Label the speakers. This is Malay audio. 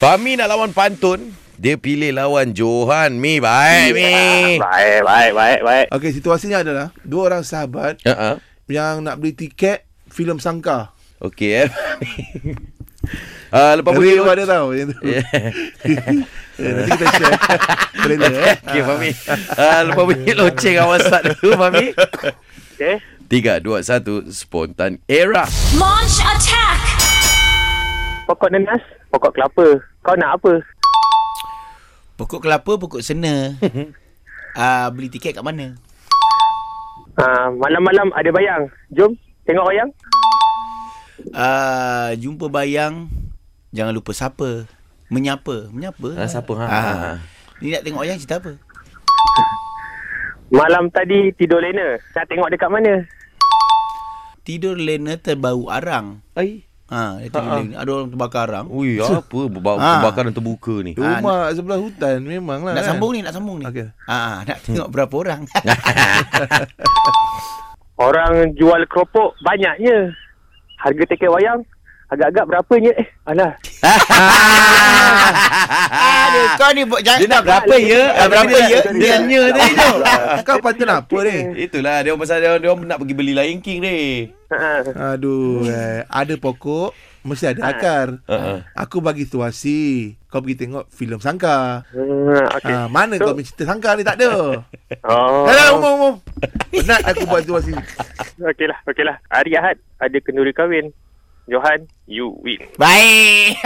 Speaker 1: Fahmi nak lawan pantun Dia pilih lawan Johan Mi Baik Mi
Speaker 2: Ah, Baik, baik, baik, baik.
Speaker 3: Okey, situasinya adalah dua orang sahabat
Speaker 1: uh-uh.
Speaker 3: yang nak beli tiket filem Sangka.
Speaker 1: Okey eh uh, Lepas
Speaker 3: Real
Speaker 1: pergi
Speaker 3: ada tau yang tu.
Speaker 1: Ya.
Speaker 3: Eh, Nanti kita share trailer eh.
Speaker 1: Okey Fahmi uh, Lepas bunyi loceng awal start dulu Fahmi
Speaker 2: Okay.
Speaker 1: 3, 2, 1 Spontan Era
Speaker 4: Launch attack!
Speaker 2: Pokok nenas, pokok kelapa. Kau nak apa?
Speaker 5: Pokok kelapa, pokok sena. Ah, beli tiket kat mana?
Speaker 2: Ha, malam-malam ada bayang. Jom, tengok wayang.
Speaker 5: Ah, jumpa bayang, jangan lupa sapa. Menyapa, menyapa.
Speaker 1: Ah, sapa, ha.
Speaker 5: Ah. Ni nak tengok wayang cerita apa?
Speaker 2: Malam tadi tidur lena. Nak tengok dekat mana?
Speaker 5: Tidur lena terbau arang.
Speaker 1: Ai.
Speaker 5: Ha, dia
Speaker 1: Ha,
Speaker 5: tidur
Speaker 1: ha.
Speaker 5: lena. Ada orang terbakar arang.
Speaker 1: Ui apa beba-
Speaker 5: Ah.
Speaker 1: Kebakaran terbuka ni
Speaker 3: Rumah sebelah hutan memanglah.
Speaker 5: Nak
Speaker 3: kan.
Speaker 5: sambung ni, nak sambung ni.
Speaker 3: Okey.
Speaker 5: Ah, nak tengok berapa orang.
Speaker 2: Orang jual keropok banyaknya. Harga tiket wayang agak-agak berapanya eh. Alah,
Speaker 5: Aduh, kau ni buat jangan.
Speaker 1: Dia nak berapa ya Ah, Berapa ya Dia nya tadi tu
Speaker 3: Kau pantun apa ni?
Speaker 1: Itulah dia orang pasal dia, orang- dia orang nak pergi beli Lion King ni.
Speaker 2: ha,
Speaker 3: Aduh, eh, ada pokok mesti ada akar.
Speaker 1: Uh-uh.
Speaker 3: Aku bagi situasi. Kau pergi tengok filem Sangka.
Speaker 2: ha, okay.
Speaker 3: Ah, mana
Speaker 2: so,
Speaker 3: kau punya cerita sangka ni tak ada.
Speaker 2: Oh,
Speaker 3: Dah dah umum umum. Penat aku buat situasi.
Speaker 2: okey lah, okey lah. Hari Ahad ada kenduri kahwin. Johan, you win.
Speaker 5: Baik.